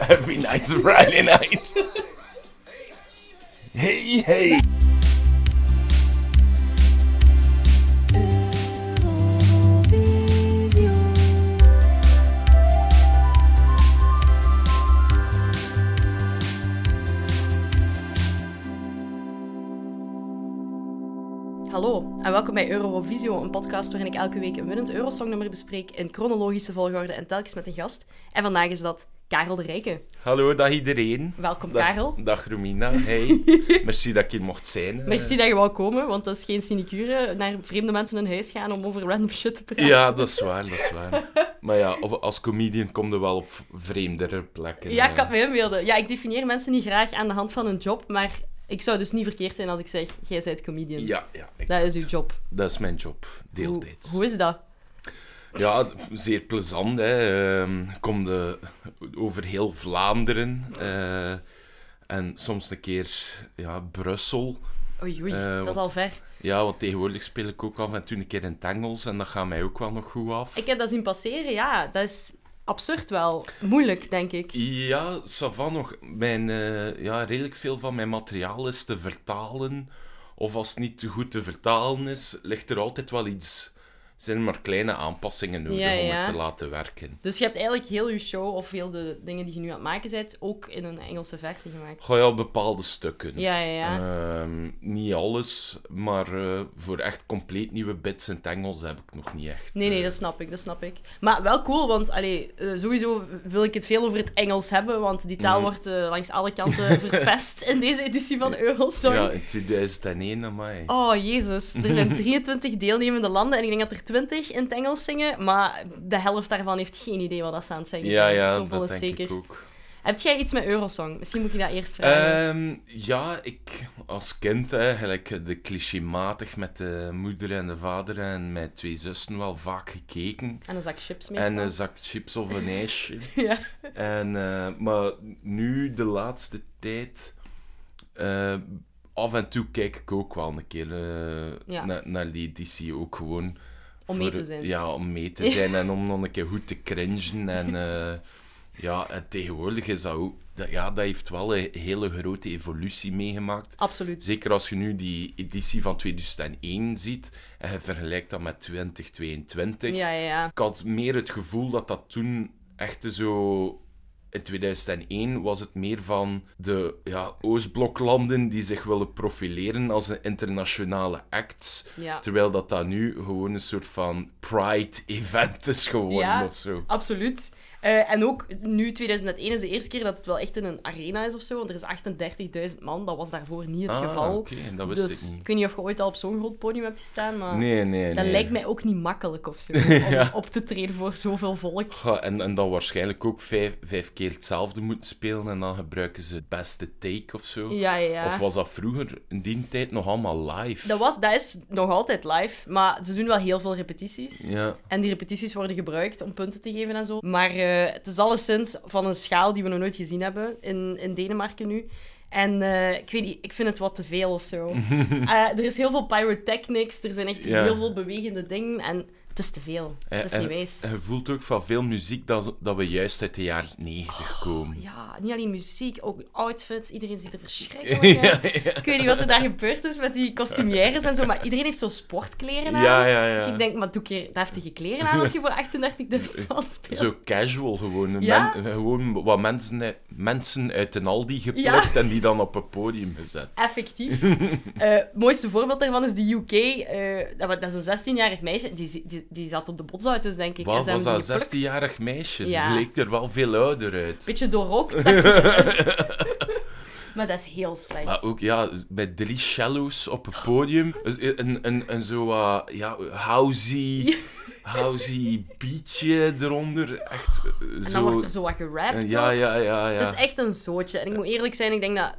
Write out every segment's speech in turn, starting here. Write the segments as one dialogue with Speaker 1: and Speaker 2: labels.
Speaker 1: every night's a Friday night. hey, hey.
Speaker 2: Hallo en welkom bij Eurovisio, een podcast waarin ik elke week een winnend Eurosongnummer bespreek in chronologische volgorde en telkens met een gast. En vandaag is dat Karel de Rijke.
Speaker 1: Hallo, dag iedereen.
Speaker 2: Welkom
Speaker 1: Dag-
Speaker 2: Karel.
Speaker 1: Dag Romina. Hey. Merci dat ik hier mocht zijn. Eh,
Speaker 2: Merci dat je wou komen, want dat is geen sinecure. Naar vreemde mensen in huis gaan om over random shit te praten.
Speaker 1: Eh, Ja, dat is waar, dat is waar. Maar ja, of- als comedian kom je wel op vreemdere plekken.
Speaker 2: Ja,
Speaker 1: eh.
Speaker 2: ik had me inbeelden. Ja, ik definieer mensen niet graag aan de hand van hun job, maar ik zou dus niet verkeerd zijn als ik zeg, jij bent comedian.
Speaker 1: Ja, ja
Speaker 2: Dat
Speaker 1: exact.
Speaker 2: is uw job.
Speaker 1: dat is mijn job,
Speaker 2: Hoe,
Speaker 1: deeltijds.
Speaker 2: hoe is dat?
Speaker 1: Ja, zeer plezant. Hè. Ehm, ik kom de, over heel Vlaanderen. eh, en soms een keer ja, Brussel.
Speaker 2: Oei, oei,
Speaker 1: Eh,
Speaker 2: dat
Speaker 1: wat-
Speaker 2: is al ver.
Speaker 1: Ja, want tegenwoordig speel ik ook af en toe een keer in het Engels. En dat gaat mij ook wel nog goed af.
Speaker 2: Ik heb dat zien passeren, ja. Dat is absurd wel. Moeilijk, denk ik.
Speaker 1: Ja, Savan nog. Mijn, eh, ja, redelijk veel van mijn materiaal is te vertalen. Of als het niet te goed te vertalen is, ligt er altijd wel iets. zijn maar kleine aanpassingen nodig
Speaker 2: Ja,
Speaker 1: om
Speaker 2: ja.
Speaker 1: het te laten werken.
Speaker 2: Dus je hebt eigenlijk heel je show of heel de dingen die je nu aan het maken bent, ook in een Engelse versie gemaakt.
Speaker 1: Gooi al bepaalde stukken.
Speaker 2: Ja, ja, ja.
Speaker 1: Ehm, niet alles, maar eh, voor echt compleet nieuwe bits in het Engels heb ik nog niet echt.
Speaker 2: Nee, nee,
Speaker 1: eh,
Speaker 2: dat snap ik, dat snap ik. Maar wel cool, want allee, eh, sowieso wil ik het veel over het Engels hebben, want die
Speaker 1: Mhm.
Speaker 2: taal wordt eh, langs alle kanten verpest in deze editie van Eurosong.
Speaker 1: Ja, in 2001, amai.
Speaker 2: Oh, jezus. Er zijn 23 deelnemende landen en ik denk dat er 20 in het Engels zingen, maar de helft daarvan heeft geen idee wat dat ze aan het zeggen
Speaker 1: ja,
Speaker 2: zijn.
Speaker 1: ja,
Speaker 2: Zoveel
Speaker 1: dat
Speaker 2: is
Speaker 1: denk
Speaker 2: zeker.
Speaker 1: ik ook.
Speaker 2: Heb jij iets met Eurosong? Misschien moet ik dat eerst vragen.
Speaker 1: Ehm, ja, ik als kind eigenlijk de clichématig met de moeder en de vader en mijn twee zussen wel vaak gekeken.
Speaker 2: en een zak chips meestal.
Speaker 1: En een zak chips of een ijsje.
Speaker 2: Ja.
Speaker 1: En, eh, maar nu, de laatste tijd, eh, af en toe kijk ik ook wel een keer eh,
Speaker 2: Ja.
Speaker 1: na- naar die editie. Ook gewoon.
Speaker 2: Om mee te zijn.
Speaker 1: Ja, om mee te zijn en om nog een keer goed te cringen. En, eh, ja, en tegenwoordig is dat ook. Dat, ja, dat heeft wel een hele grote evolutie meegemaakt.
Speaker 2: Absoluut.
Speaker 1: Zeker als je nu die editie van 2001 ziet en je vergelijkt dat met 2022
Speaker 2: Ja, ja, ja.
Speaker 1: ik had meer het gevoel dat dat toen echt zo. In 2001 was het meer van de ja, Oostbloklanden die zich willen profileren als een internationale act.
Speaker 2: ja.
Speaker 1: Terwijl dat, dat nu gewoon een soort van pride-event is geworden
Speaker 2: Ja.
Speaker 1: of zo.
Speaker 2: Absoluut. Eh, en ook nu, 2001, is de eerste keer dat het wel echt in een arena is of zo. Want er is 38.000 man. Dat was daarvoor niet het
Speaker 1: Ah,
Speaker 2: geval.
Speaker 1: Oké, dat wist
Speaker 2: dus
Speaker 1: ik
Speaker 2: ik
Speaker 1: niet.
Speaker 2: weet niet of je ooit al op zo'n groot podium hebt gestaan. Maar
Speaker 1: Nee, nee,
Speaker 2: dat
Speaker 1: nee.
Speaker 2: lijkt mij ook niet makkelijk of zo. Om op te treden voor zoveel volk.
Speaker 1: Ja, en, en dan waarschijnlijk ook vijf, vijf keer hetzelfde moeten spelen en dan gebruiken ze het beste take of zo.
Speaker 2: Ja, ja, ja.
Speaker 1: Of was dat vroeger in die tijd nog allemaal live?
Speaker 2: Dat, was, dat is nog altijd live. Maar ze doen wel heel veel repetities.
Speaker 1: Ja.
Speaker 2: En die repetities worden gebruikt om punten te geven en zo. Maar eh, het is alleszins van een schaal die we nog nooit gezien hebben in, in Denemarken nu. En eh, ik weet niet, ik vind het wat te veel of zo. Eh, er is heel veel pyrotechnics, er zijn echt
Speaker 1: Ja. Eh,
Speaker 2: heel veel bewegende dingen en het is te veel. het is
Speaker 1: En-
Speaker 2: niet wijs.
Speaker 1: en Je voelt ook van veel muziek dat, dat we juist uit de jaren
Speaker 2: Oh,
Speaker 1: 90 komen.
Speaker 2: Ja, niet alleen muziek, ook outfits. Iedereen ziet er verschrikkelijk uit. Ik weet niet wat er daar gebeurd is met die costumières en zo, maar iedereen heeft zo sportkleren aan.
Speaker 1: Ja, ja, ja.
Speaker 2: Ik denk, maar doe keer heftige kleren aan als je voor 38.000 man speelt.
Speaker 1: Zo casual gewoon.
Speaker 2: Ja?
Speaker 1: Men- gewoon wat mensen, mensen uit een Aldi geplukt en die dan op een podium gezet.
Speaker 2: Effectief. Eh, Het mooiste voorbeeld daarvan is de UK. eh, dat wa- dat is een 16-jarig meisje. Die, zi- die, die zat op de botsauto's, denk ik. en
Speaker 1: Wat
Speaker 2: ze
Speaker 1: was dat?
Speaker 2: hebben die geplukt.
Speaker 1: 16-jarig meisje.
Speaker 2: Ja.
Speaker 1: Ze leek er wel veel ouder uit.
Speaker 2: Beetje doorrookt, zag ze eruit. Maar dat is heel slecht.
Speaker 1: Maar ook, ja, met drie cello's op het podium. Een, een, een, een zo, eh, ja, housey, housey beatje eronder. Echt eh,
Speaker 2: en
Speaker 1: zo...
Speaker 2: dan wordt er zo wat gerapt.
Speaker 1: ja, ja,
Speaker 2: ook.
Speaker 1: ja, ja.
Speaker 2: Het is echt een zootje. En ik moet eerlijk zijn, ik denk dat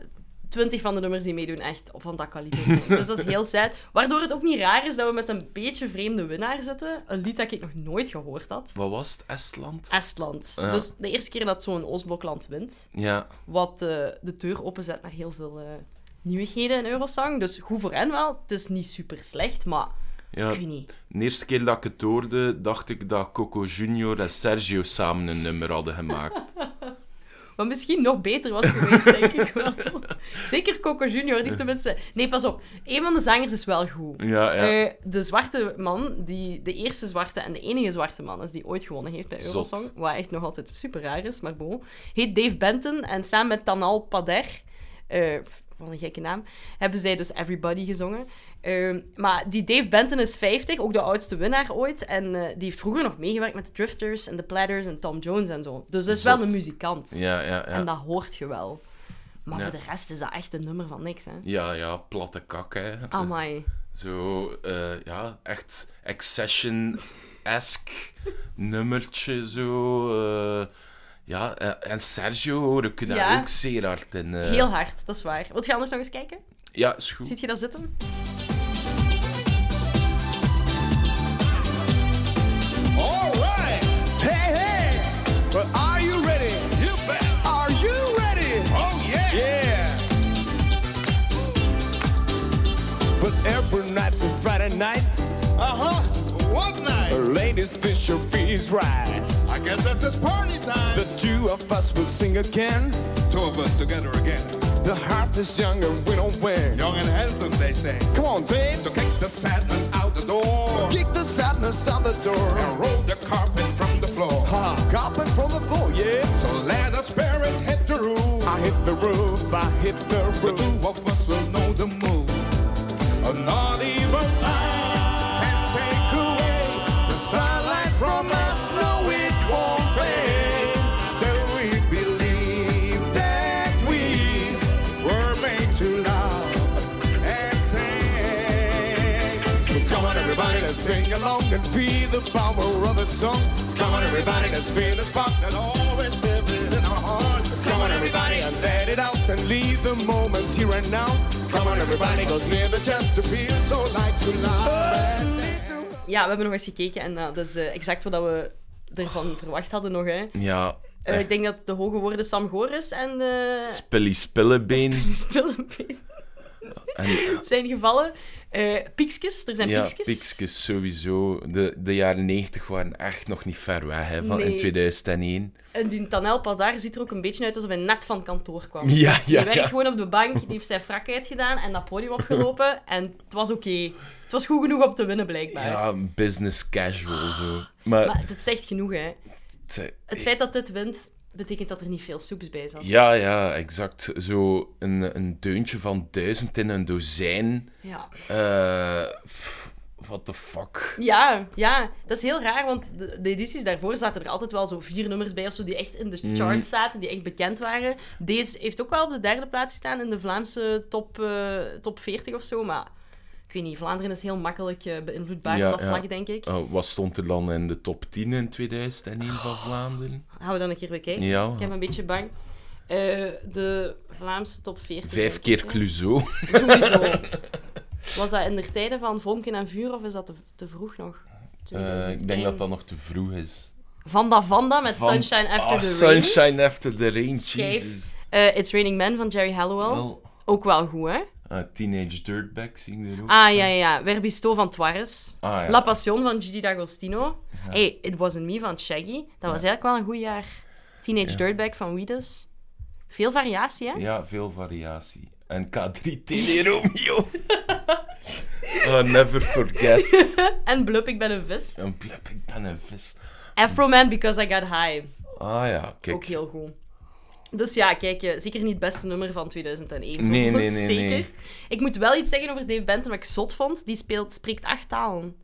Speaker 2: 20 van de nummers die meedoen echt van dat kaliber zijn. Dus dat is heel sad. Waardoor het ook niet raar is dat we met een beetje vreemde winnaar zitten. Een lied dat ik nog nooit gehoord had.
Speaker 1: Wat was het? Estland?
Speaker 2: Estland.
Speaker 1: Ja.
Speaker 2: Dus de eerste keer dat zo'n Oostblokland wint.
Speaker 1: Ja.
Speaker 2: wat eh, de deur openzet naar heel veel eh, nieuwigheden in Eurosong. Dus goed voor hen wel. Het is niet super slecht, maar
Speaker 1: ja.
Speaker 2: ik weet niet.
Speaker 1: De eerste keer dat ik het hoorde, dacht ik dat Coco Junior en Sergio samen een nummer hadden gemaakt.
Speaker 2: Wat misschien nog beter was geweest, denk ik wel. Zeker Coco Junior, die heeft tenminste... Nee, pas op. Een van de zangers is wel goed.
Speaker 1: Ja, ja.
Speaker 2: Eh, de zwarte man, die de eerste zwarte en de enige zwarte man is die ooit gewonnen heeft bij
Speaker 1: Zot.
Speaker 2: Eurosong, wat echt nog altijd super raar is, maar bon, heet Dave Benton en samen met Tanal Pader, eh, wat een gekke naam, hebben zij dus Everybody gezongen. Ehm, maar die Dave Benton is 50, ook de oudste winnaar ooit, en eh, die heeft vroeger nog meegewerkt met de Drifters en de Platters en Tom Jones en zo. Dus dat is wel
Speaker 1: Zot.
Speaker 2: een muzikant.
Speaker 1: ja, ja, ja.
Speaker 2: En dat hoort je wel. Maar
Speaker 1: Ja.
Speaker 2: voor de rest is dat echt een nummer van niks, hè.
Speaker 1: Ja, ja, platte kak, hè.
Speaker 2: Ah. Amai.
Speaker 1: Zo, eh, ja, echt Accession-esque nummertje, zo. eh. ja, eh, en Sergio hoor ik daar
Speaker 2: Ja.
Speaker 1: ook zeer hard in. eh.
Speaker 2: Heel hard, dat is waar. Wilt je anders nog eens kijken?
Speaker 1: Ja, is goed.
Speaker 2: Ziet je dat zitten?
Speaker 3: All right. Hey, hey. But are you ready? You bet. Are you ready? Oh, yeah. Yeah. But every night and Friday night,
Speaker 4: Uh-huh. What
Speaker 3: the
Speaker 4: night?
Speaker 3: ladies fish your fees right.
Speaker 4: I guess that's just party time.
Speaker 3: The two of us will sing again.
Speaker 4: The two of us together again.
Speaker 3: The heart is young and we don't wear.
Speaker 4: Young and handsome, they say.
Speaker 3: Come on, Dave.
Speaker 4: So kick the sadness out the door.
Speaker 3: Kick the sadness out the door.
Speaker 4: And roll the carpet from the floor.
Speaker 3: Ha, carpet from the floor, yeah.
Speaker 4: So let us spirit hit the roof.
Speaker 3: I hit the roof, I hit the
Speaker 4: The
Speaker 3: roof.
Speaker 4: two of us will know the moves. Not even time can take away the sunlight from us. No, it won't fade. Still, we believe that we were made to love and sing. So
Speaker 3: Come on, everybody, let's sing along and feel the power of the song. Come on, everybody, let's feel the spark
Speaker 4: that always lives in our hearts.
Speaker 3: Come on, everybody, and let it out and leave the moment here and now. Come on, everybody, go save the chance to feel so light to love.
Speaker 2: Ja, we hebben nog eens gekeken en eh, dat is eh, exact wat dat we ervan verwacht hadden nog. Hè.
Speaker 1: Ja,
Speaker 2: Eh,
Speaker 1: echt
Speaker 2: ik denk dat de hoge woorden Sam Goris en eh
Speaker 1: Spilly Spillebeen.
Speaker 2: Spillenbeen
Speaker 1: En, eh,
Speaker 2: zijn gevallen. Eh piekskes, er zijn
Speaker 1: ja,
Speaker 2: piekskes.
Speaker 1: Pixkes sowieso. De, de jaren 90 waren echt nog niet ver weg hè, van in
Speaker 2: Nee.
Speaker 1: 2001.
Speaker 2: En die Tanel Padar ziet er ook een beetje uit alsof hij net van kantoor kwam.
Speaker 1: Ja,
Speaker 2: Dus die
Speaker 1: ja,
Speaker 2: werkt
Speaker 1: ja.
Speaker 2: gewoon op de bank, die heeft zijn frak uitgedaan en dat podium opgelopen. en het was oké. Het was goed genoeg om te winnen, blijkbaar.
Speaker 1: Ja, business casual zo. Maar,
Speaker 2: Ah, Maar dit zegt genoeg, hè.
Speaker 1: het-
Speaker 2: Het feit dat dit wint, betekent dat er niet veel soeps bij zat.
Speaker 1: Ja, ja, exact. Zo een, een deuntje van duizend in een dozijn.
Speaker 2: Ja.
Speaker 1: Eh pff, what the fuck?
Speaker 2: Ja, ja, dat is heel raar, want de, de edities daarvoor zaten er altijd wel zo vier nummers bij of zo die echt in de
Speaker 1: Mhm.
Speaker 2: charts zaten, die echt bekend waren. Deze heeft ook wel op de derde plaats gestaan in de Vlaamse top, eh, top 40 of zo, maar ik weet niet, Vlaanderen is heel makkelijk eh, beïnvloedbaar
Speaker 1: Ja,
Speaker 2: op dat
Speaker 1: ja.
Speaker 2: vlak, denk ik.
Speaker 1: Eh, wat stond er dan in de top 10 in 2001 van Vlaanderen?
Speaker 2: Gaan we dan een keer bekijken?
Speaker 1: Ja.
Speaker 2: Oh, Ik ben een beetje bang. Eh, de Vlaamse top 40.
Speaker 1: Vijf
Speaker 2: denk
Speaker 1: keer
Speaker 2: ik, hè.
Speaker 1: Cluzo.
Speaker 2: Sowieso. Was dat in de tijden van Vonken en Vuur of is dat te, te vroeg nog?
Speaker 1: Eh,
Speaker 2: 2001.
Speaker 1: ik denk dat dat nog te vroeg is.
Speaker 2: Vanda Vanda met
Speaker 1: Van-
Speaker 2: Sunshine After
Speaker 1: Ah,
Speaker 2: the Rain.
Speaker 1: Sunshine After the Rain,
Speaker 2: Schijf.
Speaker 1: Jesus.
Speaker 2: Eh, It's Raining Men van Jerry Halliwell.
Speaker 1: Wel,
Speaker 2: Ook wel goed, hè?
Speaker 1: eh, Teenage Dirtbag zien er ook.
Speaker 2: Ah, ja, ja. Werbisto van Tuarez.
Speaker 1: Ah, ja.
Speaker 2: La Passion van Gigi D'Agostino. Hey, It Wasn't Me van Shaggy. Dat was eigenlijk wel een goed jaar. Teenage Dirtbag van Weedus. Veel variatie, hè?
Speaker 1: Ja, veel variatie. En K3 Tele Romeo. Ah, never forget.
Speaker 2: En Blup, ik ben een vis.
Speaker 1: Een plep, ik ben een vis.
Speaker 2: Afro Man, Because I Got High.
Speaker 1: Ah ja, kijk.
Speaker 2: Ook heel goed. Dus ja, kijk, eh, zeker niet het beste nummer van 2001. zo.
Speaker 1: Nee, nee, nee,
Speaker 2: Zeker.
Speaker 1: nee.
Speaker 2: Ik moet wel iets zeggen over Dave Benton, wat ik zot vond. Die speelt, spreekt acht talen.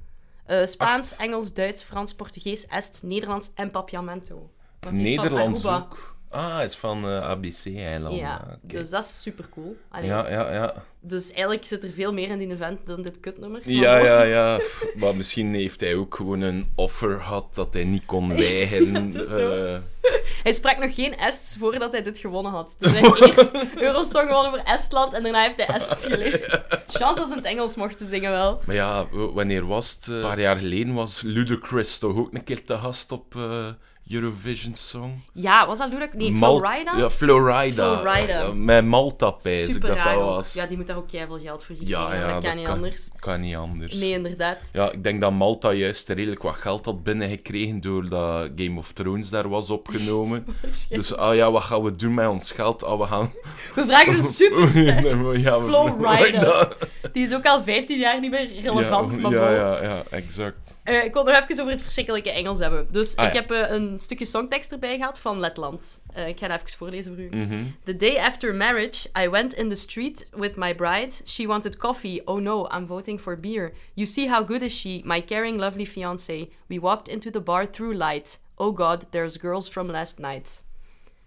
Speaker 2: Eh, Spaans, Engels, Duits, Frans, Portugees, Est, Nederlands en Papiamento. Want die is van
Speaker 1: Nederlands
Speaker 2: Aruba.
Speaker 1: ook. Ah, het is van eh, ABC-eiland.
Speaker 2: Ja,
Speaker 1: Ah, oké.
Speaker 2: dus eh, dat is super cool.
Speaker 1: ja, ja, ja.
Speaker 2: Dus eigenlijk zit er veel meer in die event dan dit kutnummer.
Speaker 1: Ja, ja, ja. Pff, Maar misschien heeft hij ook gewoon een offer gehad dat hij niet kon weigeren.
Speaker 2: het is zo.
Speaker 1: Eh,
Speaker 2: Hij sprak nog geen Ests voordat hij dit gewonnen had. Dus hij heeft eerst Eurosong gewonnen voor Estland en daarna heeft hij Ests geleerd. Chance dat ze in het Engels mochten zingen wel.
Speaker 1: maar ja, w- wanneer was het? Eh, Een paar jaar geleden was Ludacris toch ook een keer te gast op eh, Eurovision Song?
Speaker 2: Ja, was dat Ludak? Nee,
Speaker 1: Mal-
Speaker 2: Florida?
Speaker 1: Ja, Florida.
Speaker 2: Florida.
Speaker 1: Eh, Met Malta, pijs ik
Speaker 2: Super
Speaker 1: dat
Speaker 2: raar
Speaker 1: dat
Speaker 2: ook.
Speaker 1: was.
Speaker 2: Ja, die moet daar ook veel geld voor geven.
Speaker 1: Ja,
Speaker 2: Ja,
Speaker 1: ja,
Speaker 2: dat kan niet anders.
Speaker 1: Kan niet anders.
Speaker 2: Nee, inderdaad.
Speaker 1: Ja, ik denk dat Malta juist redelijk wat geld had binnengekregen doordat Game of Thrones daar was opgenomen.
Speaker 2: Oh,
Speaker 1: dus, ah ja, wat gaan we doen met ons geld? Ah, we gaan...
Speaker 2: We vragen een superster.
Speaker 1: ja, we-
Speaker 2: Flowrider. Die is ook al 15 jaar niet meer relevant,
Speaker 1: ja,
Speaker 2: maar
Speaker 1: ja,
Speaker 2: bon.
Speaker 1: ja, ja, exact.
Speaker 2: Eh, ik wil het nog even over het verschrikkelijke Engels hebben. Dus
Speaker 1: Ah,
Speaker 2: ik
Speaker 1: ja.
Speaker 2: heb eh, een stukje songtekst erbij gehaald van Letland. Eh, ik ga het even voorlezen voor u.
Speaker 1: Mhm.
Speaker 2: The day after marriage, I went in the street with my bride. She wanted coffee. Oh no, I'm voting for beer. You see how good is she, my caring, lovely fiancé. We walked into the bar through light. Oh god, there's girls from last night.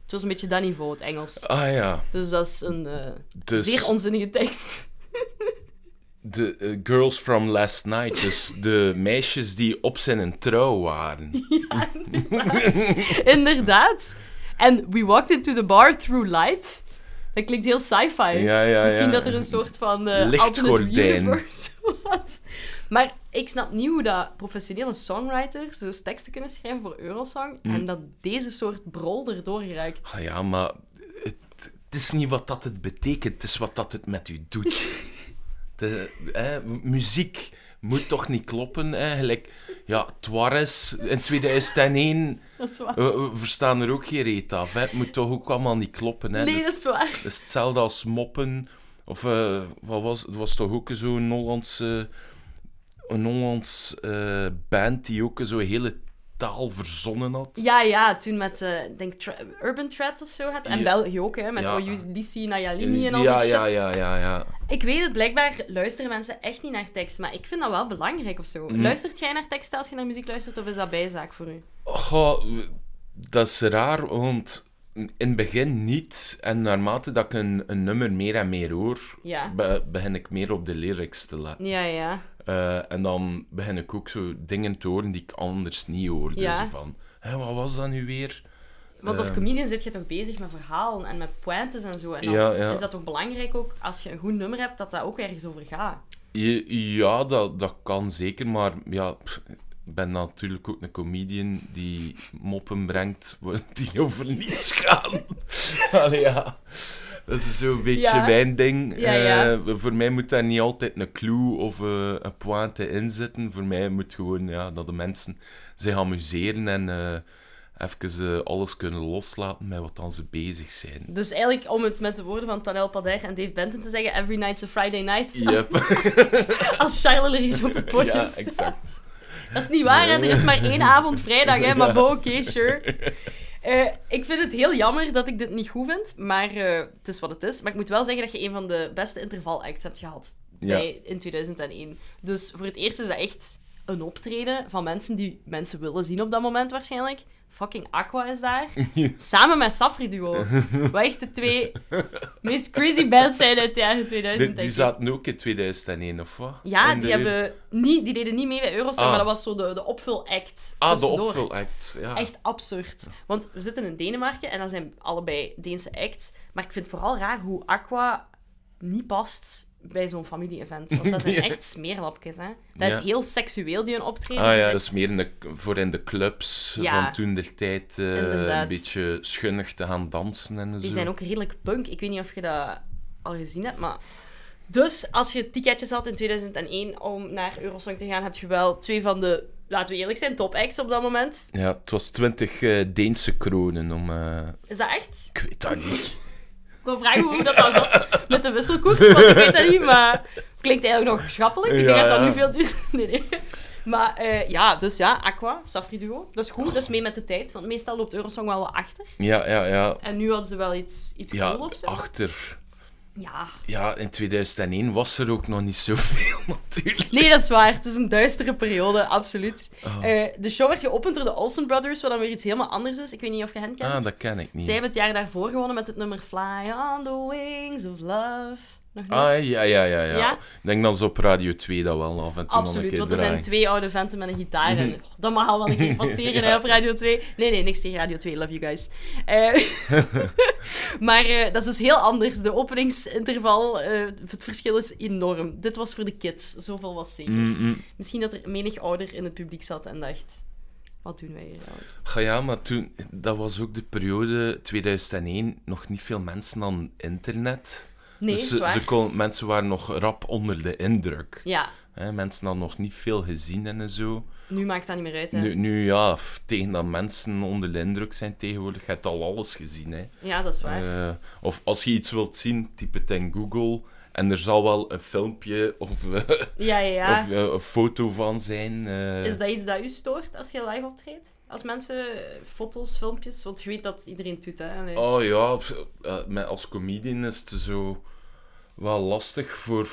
Speaker 2: Het was een beetje dat niveau, het Engels.
Speaker 1: Ah ja,
Speaker 2: Dus dat is een eh,
Speaker 1: Dus-
Speaker 2: zeer onzinnige tekst.
Speaker 1: de eh, girls from last night, dus de meisjes die op zijn trouw waren.
Speaker 2: Inderdaad. En we walked into the bar through light. Dat klinkt heel sci-fi.
Speaker 1: Ja, ja,
Speaker 2: Misschien
Speaker 1: ja.
Speaker 2: dat er een soort van eh alternate
Speaker 1: Lichtgordijn.
Speaker 2: universe was. Maar ik snap niet hoe dat professionele songwriters dus teksten kunnen schrijven voor Eurosong
Speaker 1: Hm.
Speaker 2: en dat deze soort brol erdoor ruikt.
Speaker 1: Ah ja, maar het, het is niet wat dat het betekent, het is wat dat het met u doet. De, hè, muziek moet toch niet kloppen, eigenlijk. Ja, Tuarez in 2001,
Speaker 2: Dat is waar.
Speaker 1: we, we verstaan er ook geen reet af. Hè. Het moet toch ook allemaal niet kloppen. Hè.
Speaker 2: Nee,
Speaker 1: Dus-
Speaker 2: dat is waar.
Speaker 1: dat is hetzelfde als moppen. Of eh, wat was het? was toch ook zo'n Hollandse... Een Hollands eh, band die ook zo'n hele taal verzonnen had.
Speaker 2: Ja, ja, toen met, eh, ik denk tra- Urban Thread of zo had. En
Speaker 1: Ja.
Speaker 2: België ook, hè, met
Speaker 1: Ja.
Speaker 2: ja. Ojulissi, Nayalini
Speaker 1: ja,
Speaker 2: en al die
Speaker 1: ja,
Speaker 2: shit.
Speaker 1: ja, ja, ja, ja.
Speaker 2: Ik weet het, blijkbaar luisteren mensen echt niet naar tekst, maar ik vind dat wel belangrijk of
Speaker 1: Mhm.
Speaker 2: zo. Luistert jij naar tekst als je naar muziek luistert, of is dat bijzaak voor u?
Speaker 1: Goh, dat is raar, want in het begin niet. En naarmate dat ik een, een nummer meer en meer hoor,
Speaker 2: Ja.
Speaker 1: be- begin ik meer op de lyrics te letten.
Speaker 2: Ja, ja.
Speaker 1: Eh, en dan begin ik ook zo dingen te horen die ik anders niet hoorde.
Speaker 2: Ja.
Speaker 1: Zo van, hè, wat was dat nu weer?
Speaker 2: Want als comedian zit je toch bezig met verhalen en met pointes en zo. En dan
Speaker 1: Ja, ja.
Speaker 2: is dat toch belangrijk ook, als je een goed nummer hebt, dat dat ook ergens over gaat.
Speaker 1: Je- Ja, dat, dat kan zeker, maar ja, pff, ik ben natuurlijk ook een comedian die moppen brengt waar- die over niets gaan. Allee, ja. Dat is zo'n beetje
Speaker 2: Ja.
Speaker 1: mijn ding.
Speaker 2: Ja, ja.
Speaker 1: Eh, voor mij moet daar niet altijd een clue of eh, een pointe in zitten. Voor mij moet gewoon ja, dat de mensen zich amuseren en eh, even eh, alles kunnen loslaten met wat dan ze bezig zijn.
Speaker 2: Dus eigenlijk, om het met de woorden van Tanel Pader en Dave Benton te zeggen, every night's a Friday night,
Speaker 1: Yep.
Speaker 2: als Charleries op het podium
Speaker 1: Ja,
Speaker 2: staat.
Speaker 1: exact.
Speaker 2: Dat is niet waar, hè? er is maar één avond vrijdag, hè? maar bo, oké, sure. Eh, ik vind het heel jammer dat ik dit niet goed vind, maar eh, het is wat het is. Maar ik moet wel zeggen dat je een van de beste intervalacts hebt gehad
Speaker 1: Ja.
Speaker 2: bij, in 2001. Dus voor het eerst is dat echt een optreden van mensen die mensen willen zien op dat moment waarschijnlijk. Fucking Aqua is daar. Samen met Safri Duo. Wat echt de twee meest crazy bands zijn uit de jaren 2000.
Speaker 1: Die,
Speaker 2: denk
Speaker 1: die
Speaker 2: ik.
Speaker 1: zaten ook in 2001, of wat?
Speaker 2: Ja,
Speaker 1: In de
Speaker 2: die,
Speaker 1: Euro-
Speaker 2: hebben niet, die deden niet mee bij Eurosong,
Speaker 1: Ah.
Speaker 2: maar dat was zo de, de opvul-act.
Speaker 1: Ah, de
Speaker 2: tussendoor.
Speaker 1: opvulact. Ja.
Speaker 2: Echt absurd. Want we zitten in Denemarken en dan zijn allebei Deense acts. Maar ik vind het vooral raar hoe Aqua niet past bij zo'n familie-event. Want dat zijn
Speaker 1: Ja.
Speaker 2: echt smeerlapjes, hè. Dat
Speaker 1: Ja.
Speaker 2: is heel seksueel, die hun optreden.
Speaker 1: Ah
Speaker 2: Dus
Speaker 1: ja,
Speaker 2: ik-
Speaker 1: dat is meer in de, voor in de clubs
Speaker 2: Ja.
Speaker 1: van toen der tijd eh,
Speaker 2: Inderdaad.
Speaker 1: een beetje schunnig te gaan dansen en zo.
Speaker 2: Die zijn ook redelijk punk. Ik weet niet of je dat al gezien hebt, maar... Dus als je ticketjes had in 2001 om naar Eurosong te gaan, heb je wel twee van de, laten we eerlijk zijn, top acts op dat moment.
Speaker 1: Ja, het was 20 eh, Deense kronen om... eh,
Speaker 2: Is dat echt?
Speaker 1: ik weet dat niet.
Speaker 2: Ik wil vragen hoe dat dan zat met de wisselkoers, want ik weet dat niet, maar klinkt eigenlijk nog schappelijk. Ik denk
Speaker 1: Ja,
Speaker 2: dat dat
Speaker 1: ja.
Speaker 2: nu veel duurder Nee, nee. Maar eh, ja, dus ja, Aqua, Safri Duo. Dat is goed, dat is mee met de tijd, want meestal loopt Eurosong wel wat achter.
Speaker 1: Ja, ja, ja.
Speaker 2: En nu hadden ze wel iets, iets
Speaker 1: Ja,
Speaker 2: cool of zo.
Speaker 1: achter.
Speaker 2: Ja.
Speaker 1: Ja, in 2001 was er ook nog niet zoveel, natuurlijk.
Speaker 2: Nee, dat is waar. Het is een duistere periode, absoluut.
Speaker 1: Ah.
Speaker 2: Eh, de show werd geopend door de Olsen Brothers, wat dan weer iets helemaal anders is. Ik weet niet of je hen kent.
Speaker 1: Ah, dat ken ik niet.
Speaker 2: Zij hebben het jaar daarvoor gewonnen met het nummer Fly on the Wings of Love. Nog niet?
Speaker 1: Ah, ja, ja, ja, ja.
Speaker 2: Ja?
Speaker 1: Ik denk dat ze op Radio 2 dat wel af en toe nog een
Speaker 2: Absoluut,
Speaker 1: keer Mhm.
Speaker 2: want er zijn
Speaker 1: draaien.
Speaker 2: twee oude venten met een gitaar. En, oh, dat mag al wel een keer passeren hè, op Radio 2. Nee, nee, niks tegen Radio 2. Love you guys. Eh, maar eh, dat is dus heel anders. De openingsinterval, eh, het verschil is enorm. Dit
Speaker 1: Mhm. Mm,
Speaker 2: was voor de kids, zoveel was zeker. Misschien dat er menig ouder in het publiek zat en dacht... Wat doen wij hier nou? eigenlijk?
Speaker 1: Ga ja, maar toen, dat was ook de periode 2001, nog niet veel mensen aan internet.
Speaker 2: Nee,
Speaker 1: dus ze,
Speaker 2: zwaar.
Speaker 1: ze kon, mensen waren nog rap onder de indruk.
Speaker 2: Ja,
Speaker 1: Hè, mensen hadden nog niet veel gezien en zo.
Speaker 2: nu maakt dat niet meer uit. Hè.
Speaker 1: Nu, nu ja, f- tegen dat mensen onder de indruk zijn tegenwoordig, je hebt al alles gezien. Hè.
Speaker 2: Ja, dat is waar.
Speaker 1: Eh, of als je iets wilt zien, typ het in Google en er zal wel een filmpje of, eh,
Speaker 2: ja, ja, ja.
Speaker 1: of eh, een foto van zijn. eh.
Speaker 2: Is dat iets dat u stoort als je live optreedt? Als mensen eh, foto's, filmpjes, want je weet dat iedereen het doet, hè? Allee.
Speaker 1: Oh ja, pff, eh, met als comedian is het zo wel lastig voor,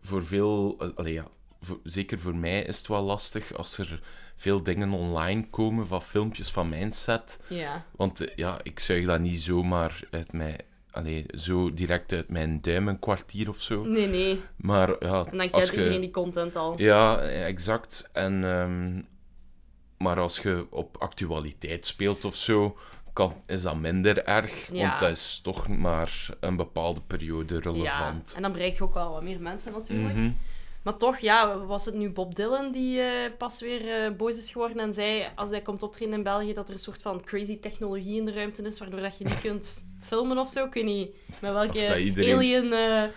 Speaker 1: voor veel... eh, allee, ja, voor- zeker voor mij is het wel lastig als er veel dingen online komen van filmpjes van mijn set.
Speaker 2: Ja.
Speaker 1: Want eh, ja, ik zuig dat niet zomaar uit mijn... Allee, zo direct uit mijn duim een kwartier of zo.
Speaker 2: Nee, nee.
Speaker 1: Maar ja,
Speaker 2: En dan kent
Speaker 1: als je...
Speaker 2: iedereen die content al.
Speaker 1: Ja, exact. En, ehm, maar als je op actualiteit speelt of zo, kan, is dat minder erg.
Speaker 2: Ja.
Speaker 1: Want dat is toch maar een bepaalde periode relevant.
Speaker 2: en dan bereikt je ook wel wat meer mensen natuurlijk.
Speaker 1: Mhm.
Speaker 2: Maar toch, ja, was het nu Bob Dylan die eh, pas weer eh, boos is geworden en zei als hij komt optreden in België dat er een soort van crazy technologie in de ruimte is waardoor dat je niet kunt filmen of zo. Ik weet niet met
Speaker 1: Of dat
Speaker 2: welke
Speaker 1: iedereen-
Speaker 2: alien eh, eh,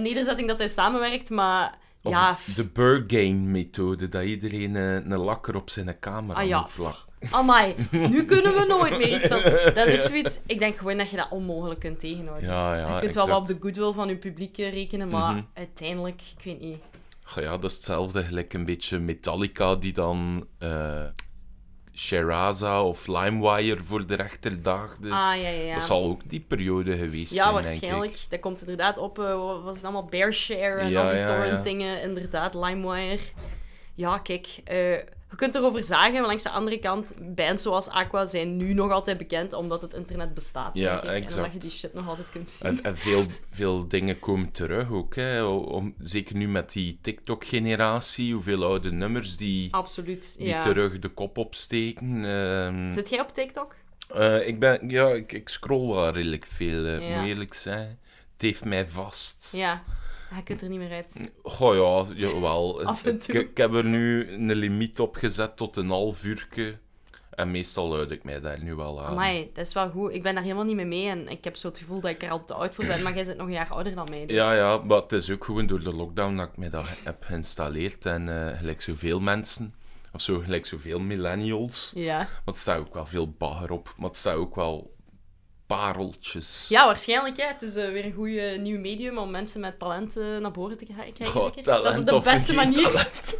Speaker 2: nederzetting dat hij samenwerkt, maar
Speaker 1: Of
Speaker 2: ja...
Speaker 1: de Burgain-methode, dat iedereen eh, een lakker op zijn camera
Speaker 2: Ah, ja.
Speaker 1: moet plakken.
Speaker 2: Amai, nu kunnen we nooit meer iets van. Dat is ook zoiets. Ik denk gewoon dat je dat onmogelijk kunt tegenhouden.
Speaker 1: Ja, ja,
Speaker 2: je kunt wel
Speaker 1: Ah, exact.
Speaker 2: wat op de goodwill van je publiek eh, rekenen, maar
Speaker 1: Mhm.
Speaker 2: uiteindelijk, ik weet niet.
Speaker 1: Ja, ja, dat is hetzelfde gelijk een beetje Metallica die dan eh Sheraza of LimeWire voor de rechter daagde.
Speaker 2: Ah, ja, ja, ja.
Speaker 1: Dat zal ook die periode geweest
Speaker 2: Ja,
Speaker 1: zijn,
Speaker 2: waarschijnlijk.
Speaker 1: denk ik.
Speaker 2: Dat komt inderdaad op. eh, wat was het allemaal? Bearshare en
Speaker 1: Ja,
Speaker 2: al die
Speaker 1: ja, ja.
Speaker 2: torrentdingen. Inderdaad, LimeWire. Ja, kijk. eh, je kunt erover zagen, maar langs de andere kant, bands zoals Aqua zijn nu nog altijd bekend omdat het internet bestaat.
Speaker 1: Ja,
Speaker 2: denk ik. En omdat
Speaker 1: exact.
Speaker 2: je die shit nog altijd kunt zien.
Speaker 1: En, en veel, veel dingen komen terug ook. Hè. Om, zeker nu met die TikTok-generatie, hoeveel oude nummers die,
Speaker 2: Absoluut.
Speaker 1: die
Speaker 2: ja.
Speaker 1: terug de kop opsteken. Ehm,
Speaker 2: Zit jij op TikTok?
Speaker 1: eh, ik, ben, ja, ik, ik scroll wel redelijk veel, eh,
Speaker 2: Ja.
Speaker 1: moet eerlijk zijn. Het heeft mij vast.
Speaker 2: Ja. Hij kunt er niet meer uit.
Speaker 1: Goh ja, jawel.
Speaker 2: Af en toe.
Speaker 1: Ik, ik heb er nu een limiet op gezet tot een half uurtje. En meestal luid ik mij daar nu wel aan.
Speaker 2: Amai, dat is wel goed. Ik ben daar helemaal niet mee mee en ik heb zo het gevoel dat ik er al te oud voor ben, maar jij zit nog een jaar ouder dan mij. dus-
Speaker 1: Ja, ja, maar het is ook gewoon door de lockdown dat ik mij dat heb geïnstalleerd. En eh, gelijk zoveel mensen, of zo gelijk zoveel millennials.
Speaker 2: Ja.
Speaker 1: Want het staat ook wel veel bagger op, maar het staat ook wel pareltjes.
Speaker 2: Ja, waarschijnlijk. Hè. Het is eh, weer een goed nieuw medium om mensen met talent eh, naar boven te krijgen.
Speaker 1: Goh,
Speaker 2: zeker? dat is
Speaker 1: talent
Speaker 2: de
Speaker 1: of
Speaker 2: beste
Speaker 1: geen
Speaker 2: manier.
Speaker 1: talent.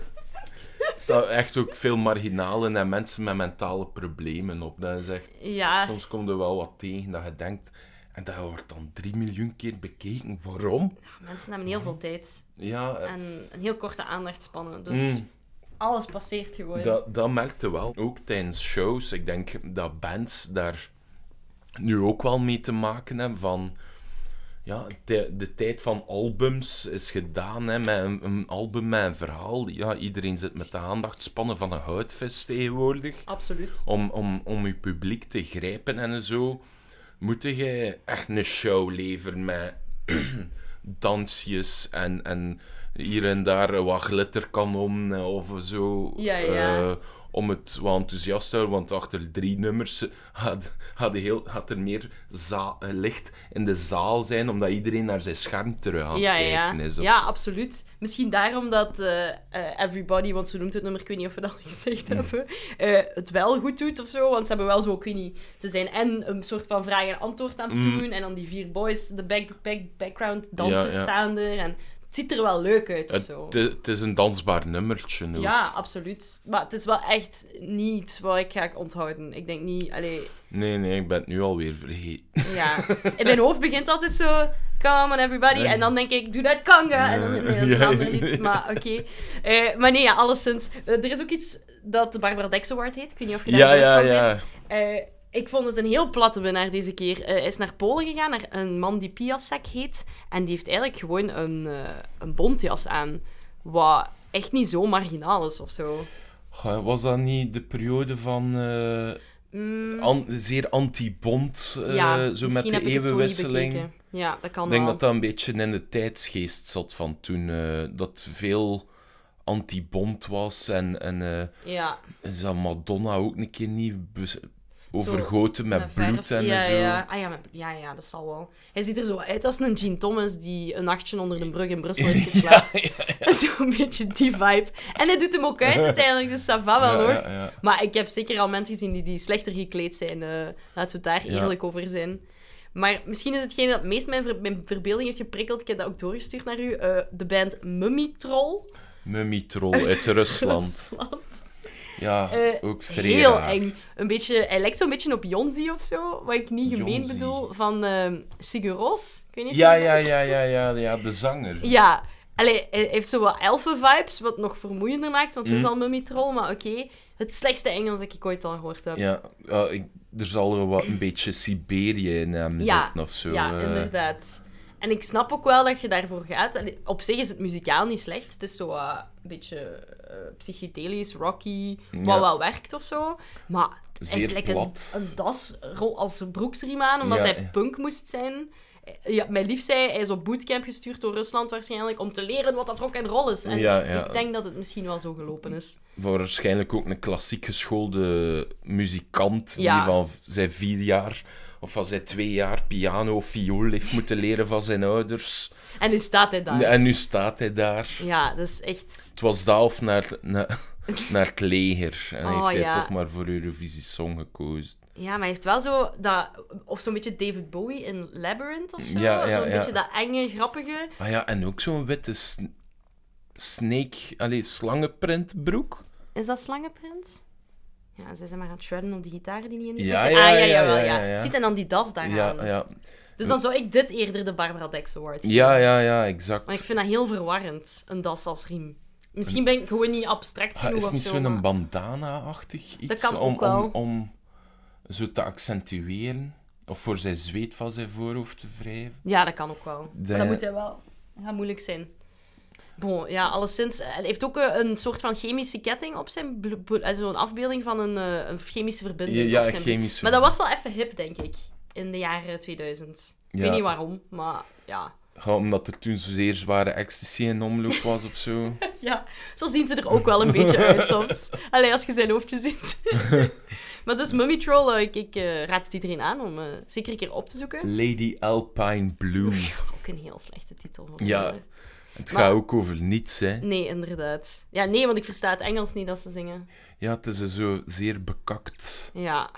Speaker 1: Er staan echt ook veel marginalen en mensen met mentale problemen op. Dat is echt...
Speaker 2: Ja,
Speaker 1: Soms komt er wel wat tegen dat je denkt... En dat wordt dan drie miljoen keer bekeken. Waarom?
Speaker 2: mensen hebben heel veel tijd
Speaker 1: Ja, eh,
Speaker 2: en een heel korte aandachtspannen. Dus
Speaker 1: Mm.
Speaker 2: alles passeert gewoon.
Speaker 1: Dat, dat merkte wel. Ook tijdens shows. Ik denk dat bands daar nu ook wel mee te maken hebben van... Ja, de, de tijd van albums is gedaan, hè, met een, een album met een verhaal. Ja, iedereen zit met de aandachtspannen van een houtvis tegenwoordig.
Speaker 2: Absoluut.
Speaker 1: Om, om, om je publiek te grijpen en zo, moet je echt een show leveren met dansjes en, en hier en daar wat glitterkanon of zo.
Speaker 2: Ja, ja.
Speaker 1: eh, om het wat enthousiast te houden, want achter drie nummers had, had, heel, had er meer za- eh, licht in de zaal zijn, omdat iedereen naar zijn scherm terug aan het
Speaker 2: Ja, ja.
Speaker 1: kijken is. of
Speaker 2: ja,
Speaker 1: zo.
Speaker 2: absoluut. Misschien daarom dat eh, eh, Everybody, want zo noemt het nummer, ik weet niet of we dat al gezegd
Speaker 1: Hmm.
Speaker 2: hebben, eh, het wel goed doet of zo. Want ze hebben wel zo, ik weet niet, ze zijn en een soort van vraag en antwoord aan het doen. En dan die vier boys, de back, back, background dansers
Speaker 1: Hmm. Ja, ja.
Speaker 2: staan er. En het ziet er wel leuk uit of
Speaker 1: Het,
Speaker 2: zo.
Speaker 1: het is een dansbaar nummertje. ook.
Speaker 2: Ja, absoluut. Maar het is wel echt niet iets wat ik ga onthouden. Ik denk niet, allee,
Speaker 1: Nee, nee, ik ben het nu alweer vergeten.
Speaker 2: ja. In mijn hoofd begint altijd zo... Come on, everybody. En dan denk ik, doe dat conga. En dan nee, dat is een
Speaker 1: Ja.
Speaker 2: ander lied, maar oké. Eh, maar nee, ja, alleszins. Eh, er is ook iets dat de Barbara Dex Award heet. Ik weet niet of je daar
Speaker 1: Ja,
Speaker 2: bewust
Speaker 1: ja,
Speaker 2: van
Speaker 1: ja.
Speaker 2: bent. Eh, ik vond het een heel platte winnaar deze keer. Eh, hij is naar Polen gegaan, naar een man die Piasek heet. En die heeft eigenlijk gewoon een, eh een bontjas aan. Wat echt niet zo marginaal is of zo.
Speaker 1: Goh, Was dat niet de periode van eh, an- zeer anti-bond, eh,
Speaker 2: Mm. ja,
Speaker 1: zo met
Speaker 2: misschien
Speaker 1: de
Speaker 2: heb ik het zo niet
Speaker 1: eeuwenwisseling?
Speaker 2: bekeken. ja, dat kan
Speaker 1: Ik denk
Speaker 2: wel.
Speaker 1: dat dat een beetje in de tijdsgeest zat van toen. eh, dat veel anti-bond was. En, en eh,
Speaker 2: Ja,
Speaker 1: is dat Madonna ook een keer niet bes- overgoten met, bloed
Speaker 2: verf.
Speaker 1: en
Speaker 2: ja,
Speaker 1: zo?
Speaker 2: Ja. Ah, ja, met- ja, ja, dat zal wel. Hij ziet er zo uit als een Gene Thomas die een nachtje onder de brug in Brussel heeft geslapen. Zo'n beetje die vibe. En hij doet hem ook uit uiteindelijk, dus dat va wel
Speaker 1: Ja,
Speaker 2: hoor.
Speaker 1: ja, ja.
Speaker 2: Maar ik heb zeker al mensen gezien die, die slechter gekleed zijn. eh, laten we het daar
Speaker 1: Ja.
Speaker 2: eerlijk over zijn. Maar misschien is hetgene dat het meest mijn, ver- mijn verbeelding heeft geprikkeld, ik heb dat ook doorgestuurd naar u, eh, de band Mummy Troll.
Speaker 1: Mummy-troll uit Rusland.
Speaker 2: Rusland.
Speaker 1: Ja,
Speaker 2: Eh,
Speaker 1: ook vredig.
Speaker 2: Heel eng. Een beetje, hij lijkt zo'n beetje op Jonzi of zo, wat ik niet gemeen
Speaker 1: Jonzi.
Speaker 2: bedoel, van ehm Sigur Ros. Ik weet niet
Speaker 1: Ja,
Speaker 2: of je
Speaker 1: ja,
Speaker 2: dat-
Speaker 1: ja, ja, ja, ja, de zanger.
Speaker 2: Ja. Allee, hij heeft zo wat elfen-vibes, wat nog vermoeiender maakt, want het
Speaker 1: Mhm.
Speaker 2: is al Mummy Troll, maar oké. Het slechtste Engels dat ik ooit al gehoord heb.
Speaker 1: Ja, eh, ik, er zal wel wat een beetje Siberië in hem zitten of zo.
Speaker 2: Ja,
Speaker 1: eh.
Speaker 2: inderdaad. En ik snap ook wel dat je daarvoor gaat. En op zich is het muzikaal niet slecht. Het is zo eh, een beetje eh, psychedelisch, rocky, wat
Speaker 1: Ja.
Speaker 2: wel werkt of zo. Maar het is
Speaker 1: Zeer
Speaker 2: eigenlijk een,
Speaker 1: plat.
Speaker 2: een das ro- als broeksriem aan, omdat
Speaker 1: Ja,
Speaker 2: hij
Speaker 1: ja.
Speaker 2: punk moest zijn. Eh, Ja, mijn lief zei, hij is op bootcamp gestuurd door Rusland waarschijnlijk, om te leren wat dat rock en roll is. En
Speaker 1: Ja, ja.
Speaker 2: ik denk dat het misschien wel zo gelopen is.
Speaker 1: waarschijnlijk ook een klassiek geschoolde muzikant
Speaker 2: Ja.
Speaker 1: die van v- zijn vier jaar of van zijn twee jaar piano of viool heeft moeten leren van zijn ouders.
Speaker 2: En nu staat hij daar.
Speaker 1: En nu staat hij daar.
Speaker 2: Ja, dat is echt...
Speaker 1: Het was daar of naar, het- na- naar het leger. En
Speaker 2: Oh,
Speaker 1: heeft hij
Speaker 2: ja.
Speaker 1: toch maar voor Eurovisie Song gekozen.
Speaker 2: Ja, maar hij heeft wel zo dat... Of zo'n beetje David Bowie in Labyrinth of zo.
Speaker 1: Ja, ja,
Speaker 2: zo'n
Speaker 1: ja.
Speaker 2: beetje dat enge, grappige.
Speaker 1: Ah ja, en ook zo'n witte sn- snake, allee, slangenprintbroek.
Speaker 2: Is dat slangenprint? Ja, ze zijn maar aan het shredden op die gitaar die niet in de
Speaker 1: Ja,
Speaker 2: zit.
Speaker 1: ja,
Speaker 2: ah, ja,
Speaker 1: ja, ja,
Speaker 2: jawel,
Speaker 1: ja, ja.
Speaker 2: Ziet en dan die das daar
Speaker 1: Ja, ja.
Speaker 2: Dus dan zou ik dit eerder de Barbara Dex Award geven.
Speaker 1: Ja, ja, ja,
Speaker 2: Maar ik
Speaker 1: exact.
Speaker 2: vind dat heel verwarrend, een das als riem. Misschien ben ik gewoon niet abstract
Speaker 1: Ah,
Speaker 2: genoeg
Speaker 1: is
Speaker 2: of
Speaker 1: het niet
Speaker 2: zo,
Speaker 1: zo'n
Speaker 2: maar-
Speaker 1: bandana-achtig iets?
Speaker 2: kan
Speaker 1: om,
Speaker 2: ook wel.
Speaker 1: Om, om zo te accentueren. Of voor zijn zweet van zijn voorhoofd te wrijven.
Speaker 2: Ja, dat kan ook wel. Maar dat
Speaker 1: De-
Speaker 2: moet hij wel. Dat gaat moeilijk zijn. Bon, ja, alleszins. Hij heeft ook eh, een soort van chemische ketting op zijn... blo- blo- eh, Zo'n afbeelding van een, eh, een chemische verbinding
Speaker 1: Ja,
Speaker 2: op zijn...
Speaker 1: chemische-
Speaker 2: Maar dat was wel even hip, denk ik. In de jaren 2000. Ik
Speaker 1: Ja.
Speaker 2: weet niet waarom, maar ja.
Speaker 1: Ja, omdat er toen zozeer zware ecstasy in omloop was of zo.
Speaker 2: Ja, zo zien ze er ook wel een beetje uit soms. Alleen als je zijn hoofdje ziet. maar dus Mummy Troll, eh, ik, ik eh, raad het iedereen aan om eh, zeker een keer op te zoeken.
Speaker 1: Lady Alpine Bloom.
Speaker 2: Ook een heel slechte titel. voor
Speaker 1: Ja,
Speaker 2: een-
Speaker 1: het
Speaker 2: Maar-
Speaker 1: gaat ook over niets, hè.
Speaker 2: Nee, inderdaad. Ja, nee, want ik versta het Engels niet dat ze zingen.
Speaker 1: Ja, het is zo zeer bekakt.
Speaker 2: Ja,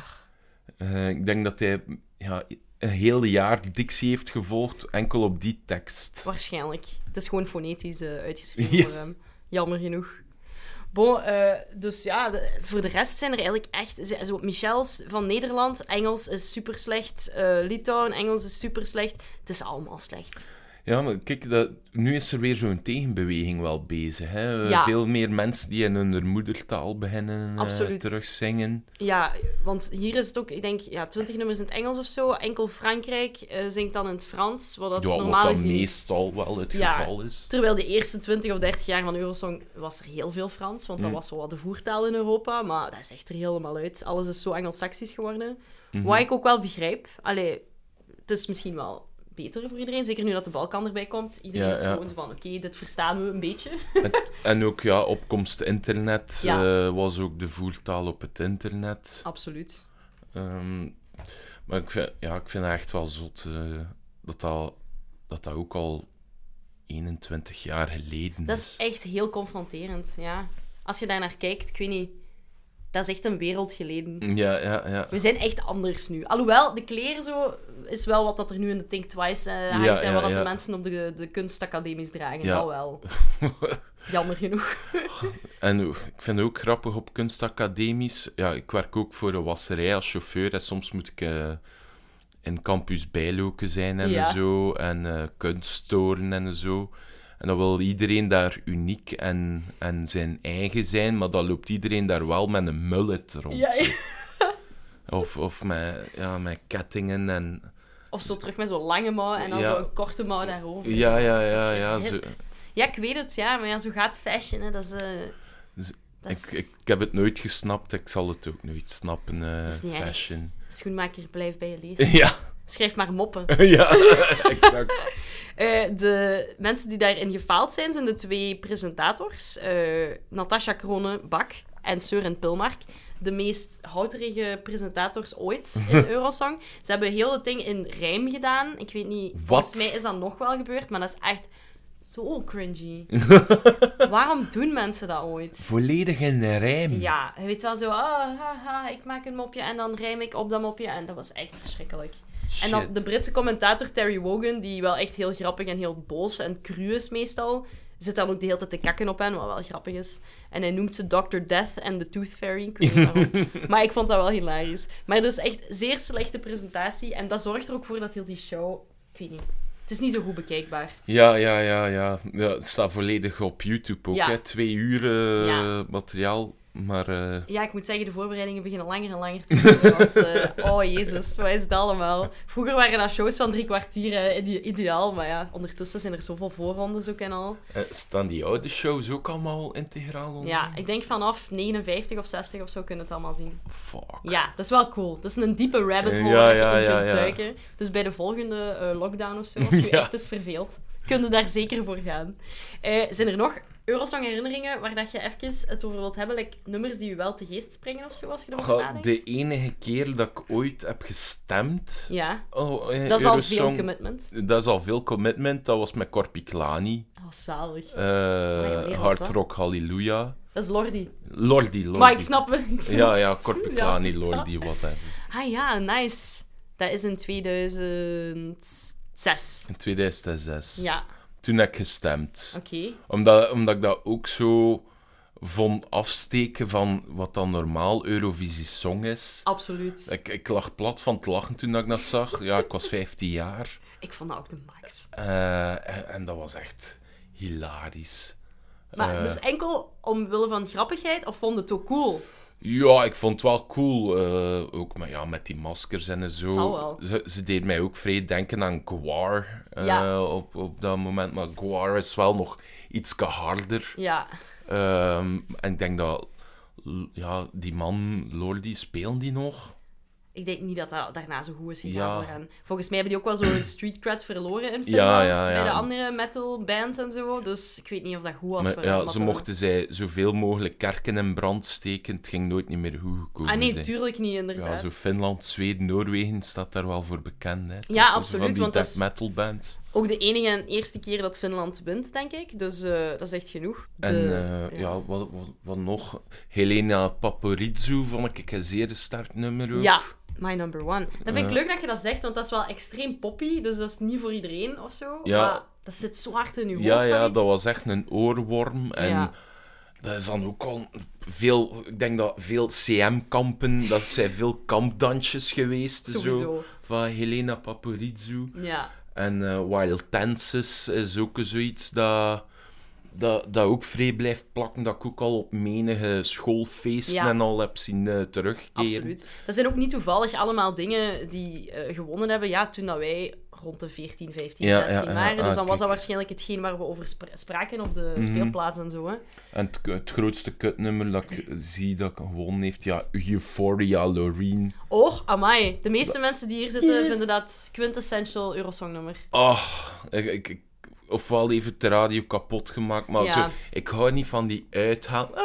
Speaker 1: Eh, ik denk dat hij ja, een heel jaar dictie heeft gevolgd enkel op die tekst.
Speaker 2: waarschijnlijk. Het is gewoon fonetisch eh, uitgeschreven
Speaker 1: Ja.
Speaker 2: voor hem. Jammer genoeg. Bon, eh, dus ja, de- voor de rest zijn er eigenlijk echt... ze- Zo, Michels van Nederland, Engels is super slecht. Litouwen, Engels is super slecht. Het is allemaal slecht.
Speaker 1: Ja, maar kijk, dat, nu is er weer zo'n tegenbeweging wel bezig. Hè? Eh,
Speaker 2: Ja.
Speaker 1: Veel meer mensen die in hun moedertaal beginnen terug
Speaker 2: Absoluut.
Speaker 1: terugzingen.
Speaker 2: Ja, want hier is het ook, ik denk, ja, 20 nummers in het Engels of zo. Enkel Frankrijk eh, zingt dan in het Frans, wat dat
Speaker 1: Ja,
Speaker 2: normaal
Speaker 1: wat dan
Speaker 2: gezien
Speaker 1: meestal wel het
Speaker 2: Ja.
Speaker 1: geval is.
Speaker 2: Terwijl de eerste 20 of 30 jaar van Eurosong was er heel veel Frans,
Speaker 1: Mhm.
Speaker 2: want dat was wel wat de voertaal in Europa, maar dat is echt er helemaal uit. Alles is zo Engels-Saxisch geworden.
Speaker 1: Mhm.
Speaker 2: Wat ik ook wel begrijp. Allee, het is misschien wel beter voor iedereen, zeker nu dat de Balkan erbij komt. Iedereen
Speaker 1: Ja,
Speaker 2: is
Speaker 1: ja.
Speaker 2: gewoon zo van, oké, dit verstaan we een beetje.
Speaker 1: En ook ja, opkomst internet
Speaker 2: Ja.
Speaker 1: eh, was ook de voertaal op het internet.
Speaker 2: Absoluut.
Speaker 1: Ehm, maar ik vind, ja, ik vind het echt wel zot eh, dat, dat, dat dat ook al 21 jaar geleden
Speaker 2: Dat is echt heel confronterend, ja. Als je daar naar kijkt, ik weet niet, dat is echt een wereld geleden.
Speaker 1: Ja, ja, ja.
Speaker 2: We zijn echt anders nu. Alhoewel, de kleren zo is wel wat dat er nu in de Think Twice eh, hangt
Speaker 1: Ja,
Speaker 2: en
Speaker 1: ja,
Speaker 2: wat dat
Speaker 1: ja.
Speaker 2: de mensen op de, de kunstacademies dragen.
Speaker 1: Ja.
Speaker 2: Dat wel. Jammer genoeg.
Speaker 1: En ook- ik vind het ook grappig op kunstacademies. Ja, ik werk ook voor een wasserij als chauffeur. En soms moet ik eh, in campus bijloken zijn en
Speaker 2: Ja.
Speaker 1: zo. En eh kunst toren en zo. En dan wil iedereen daar uniek en, en zijn eigen zijn. Maar dan loopt iedereen daar wel met een mullet rond.
Speaker 2: Ja,
Speaker 1: zo. Of, of met, ja, met kettingen en...
Speaker 2: Of zo terug met zo'n lange mouw en dan
Speaker 1: Ja.
Speaker 2: zo'n korte mouw daarover.
Speaker 1: Ja, ja, ja,
Speaker 2: weer
Speaker 1: ja.
Speaker 2: hip.
Speaker 1: Zo,
Speaker 2: Ja, ik weet het, ja. Maar ja, zo gaat fashion, hè. Dat is... eh,
Speaker 1: Dus
Speaker 2: dat
Speaker 1: ik,
Speaker 2: is,
Speaker 1: ik, ik heb het nooit gesnapt. Ik zal het ook nooit snappen, eh,
Speaker 2: is niet erg.
Speaker 1: fashion.
Speaker 2: Schoenmaker, blijf bij je lezen.
Speaker 1: Ja.
Speaker 2: Schrijf maar moppen.
Speaker 1: ja, exact.
Speaker 2: Eh, de mensen die daarin gefaald zijn, zijn de twee presentators. eh Natasha Krone-Bak en Søren Pilmark. De meest houterige presentators ooit in Eurosong. Ze hebben heel het ding in rijm gedaan. Ik weet niet, volgens
Speaker 1: Wat?
Speaker 2: mij is dat nog wel gebeurd, maar dat is echt zo cringy. Waarom doen mensen dat ooit?
Speaker 1: Volledig in rijm.
Speaker 2: Ja, je weet wel zo, ah, haha, ik maak een mopje en dan rijm ik op dat mopje. En dat was echt verschrikkelijk. En dan
Speaker 1: Shit.
Speaker 2: de Britse commentator Terry Wogan, die wel echt heel grappig en heel boos en cru is meestal, zit dan ook de hele tijd te kakken op hen, wat wel grappig is. En hij noemt ze Dr. Death en de Tooth Fairy. Ik weet niet waarom. maar ik vond dat wel hilarisch. Maar dus echt zeer slechte presentatie. En dat zorgt er ook voor dat heel die show... Ik weet niet. Het is niet zo goed bekijkbaar.
Speaker 1: Ja, ja, ja, ja. ja het staat volledig op YouTube ook,
Speaker 2: Ja.
Speaker 1: hè. Twee uur eh,
Speaker 2: Ja.
Speaker 1: materiaal, maar... eh,
Speaker 2: Ja, ik moet zeggen, de voorbereidingen beginnen langer en langer te duren. want, eh, oh jezus, wat is het allemaal? Vroeger waren dat shows van drie kwartier eh, ide- ideaal, maar ja, ondertussen zijn er zoveel voorrondes ook en al.
Speaker 1: eh, staan die oude shows ook allemaal integraal onder?
Speaker 2: Ja, ik denk vanaf 59 of 60 of zo kunnen we het allemaal zien.
Speaker 1: Fuck.
Speaker 2: Ja, dat is wel cool. Dat is een diepe rabbit hole
Speaker 1: Ja,
Speaker 2: waar je
Speaker 1: ja,
Speaker 2: in
Speaker 1: ja,
Speaker 2: kunt
Speaker 1: ja.
Speaker 2: duiken. Dus bij de volgende eh, lockdown of zo, als je je
Speaker 1: Ja.
Speaker 2: echt is verveeld, kun je daar zeker voor gaan. Eh, zijn er nog Eurosong-herinneringen waar dat je even het over wilt hebben? Like nummers die je wel te geest springen of zo, als je erover
Speaker 1: Goh,
Speaker 2: nadenkt?
Speaker 1: de enige keer dat ik ooit heb gestemd...
Speaker 2: Ja,
Speaker 1: Oh, eh,
Speaker 2: dat is al veel
Speaker 1: Eurosong-
Speaker 2: commitment.
Speaker 1: Dat is al veel commitment. Dat was met Corpi Klani.
Speaker 2: Oh, zalig.
Speaker 1: eh,
Speaker 2: wanneer was
Speaker 1: Hard
Speaker 2: dat?
Speaker 1: Rock Hallelujah.
Speaker 2: Dat is Lordi.
Speaker 1: Lordi, Lordi.
Speaker 2: Maar ik snap het. ik snap
Speaker 1: Ja,
Speaker 2: het.
Speaker 1: ja, Corpi
Speaker 2: Ja,
Speaker 1: Klani,
Speaker 2: het is dat.
Speaker 1: Lordi, whatever.
Speaker 2: Ah ja, nice. Dat is in 2006.
Speaker 1: In 2006.
Speaker 2: Ja,
Speaker 1: Toen heb ik gestemd.
Speaker 2: oké.
Speaker 1: Omdat, omdat ik dat ook zo vond afsteken van wat dan normaal Eurovisie Song is.
Speaker 2: Absoluut. Ik...
Speaker 1: Ik, ik lag plat van het lachen toen ik dat zag. Ja, ik was 15 jaar.
Speaker 2: vond dat ook de max.
Speaker 1: Eh, en, en dat was echt hilarisch.
Speaker 2: Maar
Speaker 1: eh.
Speaker 2: dus enkel omwille van grappigheid of vond het ook cool?
Speaker 1: Ja, ik vond het wel cool. eh, ook met, ja, met die maskers en zo.
Speaker 2: zal wel.
Speaker 1: Ze, ze deed mij ook vrij denken aan Guar eh,
Speaker 2: Ja.
Speaker 1: op, op dat moment. Maar Guar is wel nog iets harder.
Speaker 2: Ja,
Speaker 1: Ehm, en ik denk dat l- ja, die man, Lordi, spelen die nog?
Speaker 2: ik denk niet dat dat daarna zo goed is gegaan
Speaker 1: Ja.
Speaker 2: voor hen. Volgens mij hebben die ook wel zo'n street cred verloren in Finland.
Speaker 1: Ja, ja,
Speaker 2: Bij de
Speaker 1: ja.
Speaker 2: andere metal bands en zo. Dus ik weet niet of dat goed was
Speaker 1: Maar
Speaker 2: voor hen.
Speaker 1: ja,
Speaker 2: wat
Speaker 1: ze
Speaker 2: dan ook.
Speaker 1: mochten zij zoveel mogelijk kerken in brand steken. Het ging nooit niet meer goed gekomen
Speaker 2: Ah nee,
Speaker 1: zijn.
Speaker 2: tuurlijk niet,
Speaker 1: Ja,
Speaker 2: inderdaad.
Speaker 1: zo Finland, Zweden, Noorwegen staat daar wel voor bekend. Hè. Toch?
Speaker 2: Ja,
Speaker 1: Van
Speaker 2: absoluut,
Speaker 1: die
Speaker 2: want dat
Speaker 1: death
Speaker 2: is-
Speaker 1: metal bands.
Speaker 2: Ook de enige en eerste keer dat Finland wint, denk ik. Dus eh, dat is echt genoeg. De-
Speaker 1: En eh, ja, wat, wat, wat nog? Helena Paporizou vond ik een zeer sterk nummer ook.
Speaker 2: Ja, my number one. Dat vind ik leuk dat je dat zegt, want dat is wel extreem poppy. Dus dat is niet voor iedereen of zo.
Speaker 1: Ja.
Speaker 2: Maar dat zit zo hard in je hoofd.
Speaker 1: ja, ja
Speaker 2: iets.
Speaker 1: dat was echt een oorworm. En
Speaker 2: Ja.
Speaker 1: dat is dan ook al veel... Ik denk dat veel CM-kampen, dat zijn veel kampdansjes geweest.
Speaker 2: Sowieso.
Speaker 1: Zo, van Helena Paporizou.
Speaker 2: Ja.
Speaker 1: En eh, Wild Tenses is ook zoiets dat, dat, dat ook vrij blijft plakken. Dat ik ook al op menige schoolfeesten
Speaker 2: Ja.
Speaker 1: en al heb zien eh, terugkeren.
Speaker 2: Absoluut. Dat zijn ook niet toevallig allemaal dingen die eh, gewonnen hebben. Ja, toen dat wij rond de 14, 15,
Speaker 1: Ja,
Speaker 2: 16
Speaker 1: ja, ja,
Speaker 2: waren. Dus
Speaker 1: ah,
Speaker 2: dan was dat
Speaker 1: kijk. Mhm.
Speaker 2: waarschijnlijk hetgeen waar we over spra- spraken op de speelplaats en zo. Hè.
Speaker 1: En het, het grootste kutnummer dat ik zie dat ik gewonnen heeft, ja, Euphoria Loreen.
Speaker 2: Oh, amai. De meeste mensen die hier zitten vinden dat quintessential Eurosongnummer.
Speaker 1: Ah, ik, ik, ik- ofwel even de radio kapot gemaakt, maar
Speaker 2: Ja.
Speaker 1: zo, ik hou niet van die uithaal. Ah!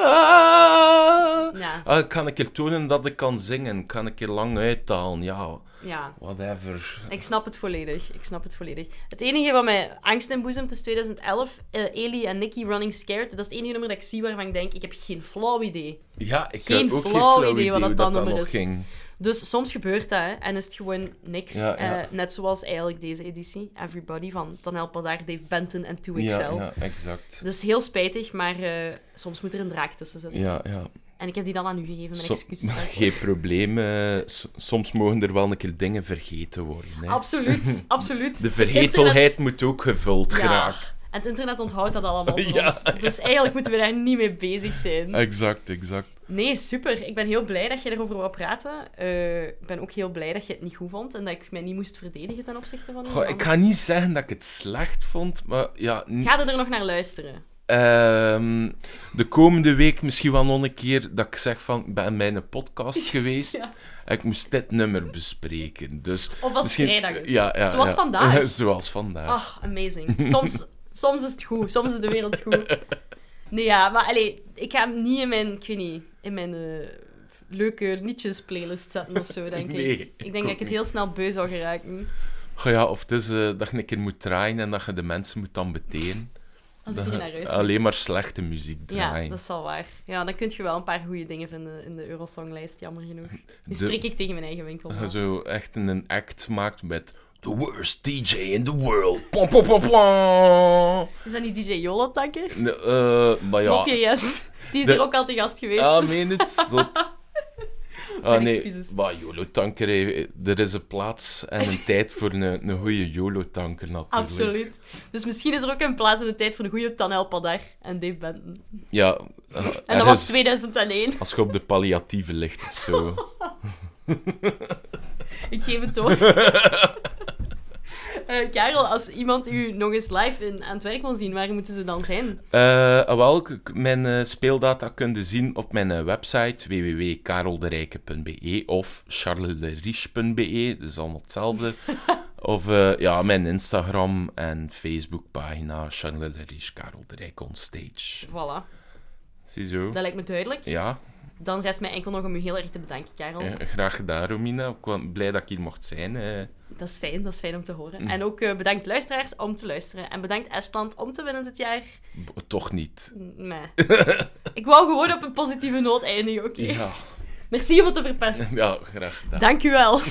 Speaker 2: Ja.
Speaker 1: Ah, ik kan een keer tonen dat ik kan zingen, ik kan een keer lang uithalen, ja,
Speaker 2: Ja.
Speaker 1: whatever.
Speaker 2: Ik snap het volledig. Ik snap het volledig. Het enige wat mij angst inboezemt is 2011. eh Ellie en Nicky Running Scared. Dat is het enige nummer dat ik zie waarvan ik denk, ik heb geen flauw idee.
Speaker 1: Ja, ik
Speaker 2: Geen
Speaker 1: heb ook geen
Speaker 2: flauw
Speaker 1: flauw
Speaker 2: idee
Speaker 1: idee
Speaker 2: wat
Speaker 1: hoe
Speaker 2: dat
Speaker 1: dat, dan
Speaker 2: nummer
Speaker 1: nog
Speaker 2: is.
Speaker 1: ging.
Speaker 2: Dus soms gebeurt dat hè, en is het gewoon niks.
Speaker 1: Ja, ja.
Speaker 2: Eh, net zoals eigenlijk deze editie, Everybody, van Dan helpen daar Dave Benton en 2XL.
Speaker 1: Ja, ja, exact.
Speaker 2: Dat is heel spijtig, maar eh, soms moet er een draak tussen zitten.
Speaker 1: Ja, ja.
Speaker 2: En ik heb die dan aan u gegeven, mijn
Speaker 1: Som-
Speaker 2: excuses daarvoor.
Speaker 1: geen probleem. eh, s- soms mogen er wel een keer dingen vergeten worden. Hè.
Speaker 2: Absoluut, absoluut.
Speaker 1: De
Speaker 2: Het
Speaker 1: vergetelheid
Speaker 2: internet-
Speaker 1: moet ook gevuld geraken.
Speaker 2: En het internet onthoudt dat allemaal voor
Speaker 1: Ja, Eh,
Speaker 2: ons. Dus eigenlijk moeten we daar niet mee bezig zijn.
Speaker 1: Exact, exact.
Speaker 2: Nee, super. Ik ben heel blij dat je erover wou praten. Eh, ik ben ook heel blij dat je het niet goed vond en dat ik mij niet moest verdedigen ten opzichte van iemand
Speaker 1: ik ga
Speaker 2: anders.
Speaker 1: niet zeggen dat ik het slecht vond, maar ja... n-
Speaker 2: Ga er nog naar luisteren.
Speaker 1: Ehm, de komende week misschien wel nog een keer dat ik zeg van, ik ben in mijn podcast geweest
Speaker 2: Ja.
Speaker 1: en ik moest dit nummer bespreken. Dus
Speaker 2: Of als het
Speaker 1: misschien-
Speaker 2: vrijdag is.
Speaker 1: Ja, ja,
Speaker 2: Zoals
Speaker 1: ja.
Speaker 2: vandaag. Ah.
Speaker 1: Zoals vandaag.
Speaker 2: Ach, amazing. Soms, soms is het goed, soms is de wereld goed. Nee, ja, maar allee, ik ga hem niet in mijn, ik weet niet, in mijn eh, leuke liedjes-playlist zetten of zo, denk
Speaker 1: Nee,
Speaker 2: ik. Ik
Speaker 1: ik
Speaker 2: denk
Speaker 1: ook
Speaker 2: dat ik het
Speaker 1: niet.
Speaker 2: heel snel beu zou geraken.
Speaker 1: Goh, ja, of het is eh, dat je een keer moet draaien en dat je de mensen moet dan beteren.
Speaker 2: Als
Speaker 1: Dat
Speaker 2: ik hier
Speaker 1: je
Speaker 2: naar huis moet.
Speaker 1: alleen maar slechte muziek
Speaker 2: Ja,
Speaker 1: draaien.
Speaker 2: dat is wel waar. Ja, dan kun je wel een paar goede dingen vinden in de Eurosonglijst, jammer genoeg. Nu
Speaker 1: De-
Speaker 2: spreek ik tegen mijn eigen winkel.
Speaker 1: Dat je
Speaker 2: maar-
Speaker 1: zo echt een act maakt met The worst DJ in the world. Pom, pom, pom, pom.
Speaker 2: Is dat niet DJ Jolo takken?
Speaker 1: Nee, eh, maar ja.
Speaker 2: Mopje Jens. Die is
Speaker 1: De-
Speaker 2: hier ook al te gast geweest.
Speaker 1: Ah,
Speaker 2: dus-
Speaker 1: meen het, zot. Ah,
Speaker 2: Mijn
Speaker 1: nee,
Speaker 2: excuses.
Speaker 1: maar YOLO-tanker, hè. er is een plaats en een tijd voor een, een goede YOLO-tanker natuurlijk.
Speaker 2: Absoluut. Dus misschien is er ook een plaats in de tijd voor de goede Tanel Padar en Dave Benton.
Speaker 1: Ja, eh,
Speaker 2: En
Speaker 1: er
Speaker 2: dat was
Speaker 1: is-
Speaker 2: 2001.
Speaker 1: als je op de palliatieve ligt of zo.
Speaker 2: Ik geef het door. Eh, Karel, als iemand u nog eens live in, aan het werk wil zien, waar moeten ze dan zijn?
Speaker 1: Eh, ah, wel, k- k- mijn eh, speeldata kun je zien op mijn eh, website www.karelderijke.be of charlesderiche.be, dat is allemaal hetzelfde. of eh, ja, mijn Instagram en Facebookpagina Charles de Riche, Karel de Rijk on stage.
Speaker 2: Voilà,
Speaker 1: Ziezo.
Speaker 2: dat lijkt me duidelijk.
Speaker 1: Ja,
Speaker 2: Dan rest mij enkel nog om u heel erg te bedanken, Karel.
Speaker 1: eh, graag gedaan Romina. Ik was blij dat ik hier mocht zijn. eh.
Speaker 2: Dat is fijn, dat is fijn om te horen.
Speaker 1: Mm.
Speaker 2: En ook eh, bedankt luisteraars om te luisteren. En bedankt Estland om te winnen dit jaar.
Speaker 1: B- toch niet.
Speaker 2: Nee. Ik wou gewoon op een positieve noot eindigen, oké?
Speaker 1: Ja,
Speaker 2: Merci om het te verpesten.
Speaker 1: ja graag gedaan.
Speaker 2: Dank u wel.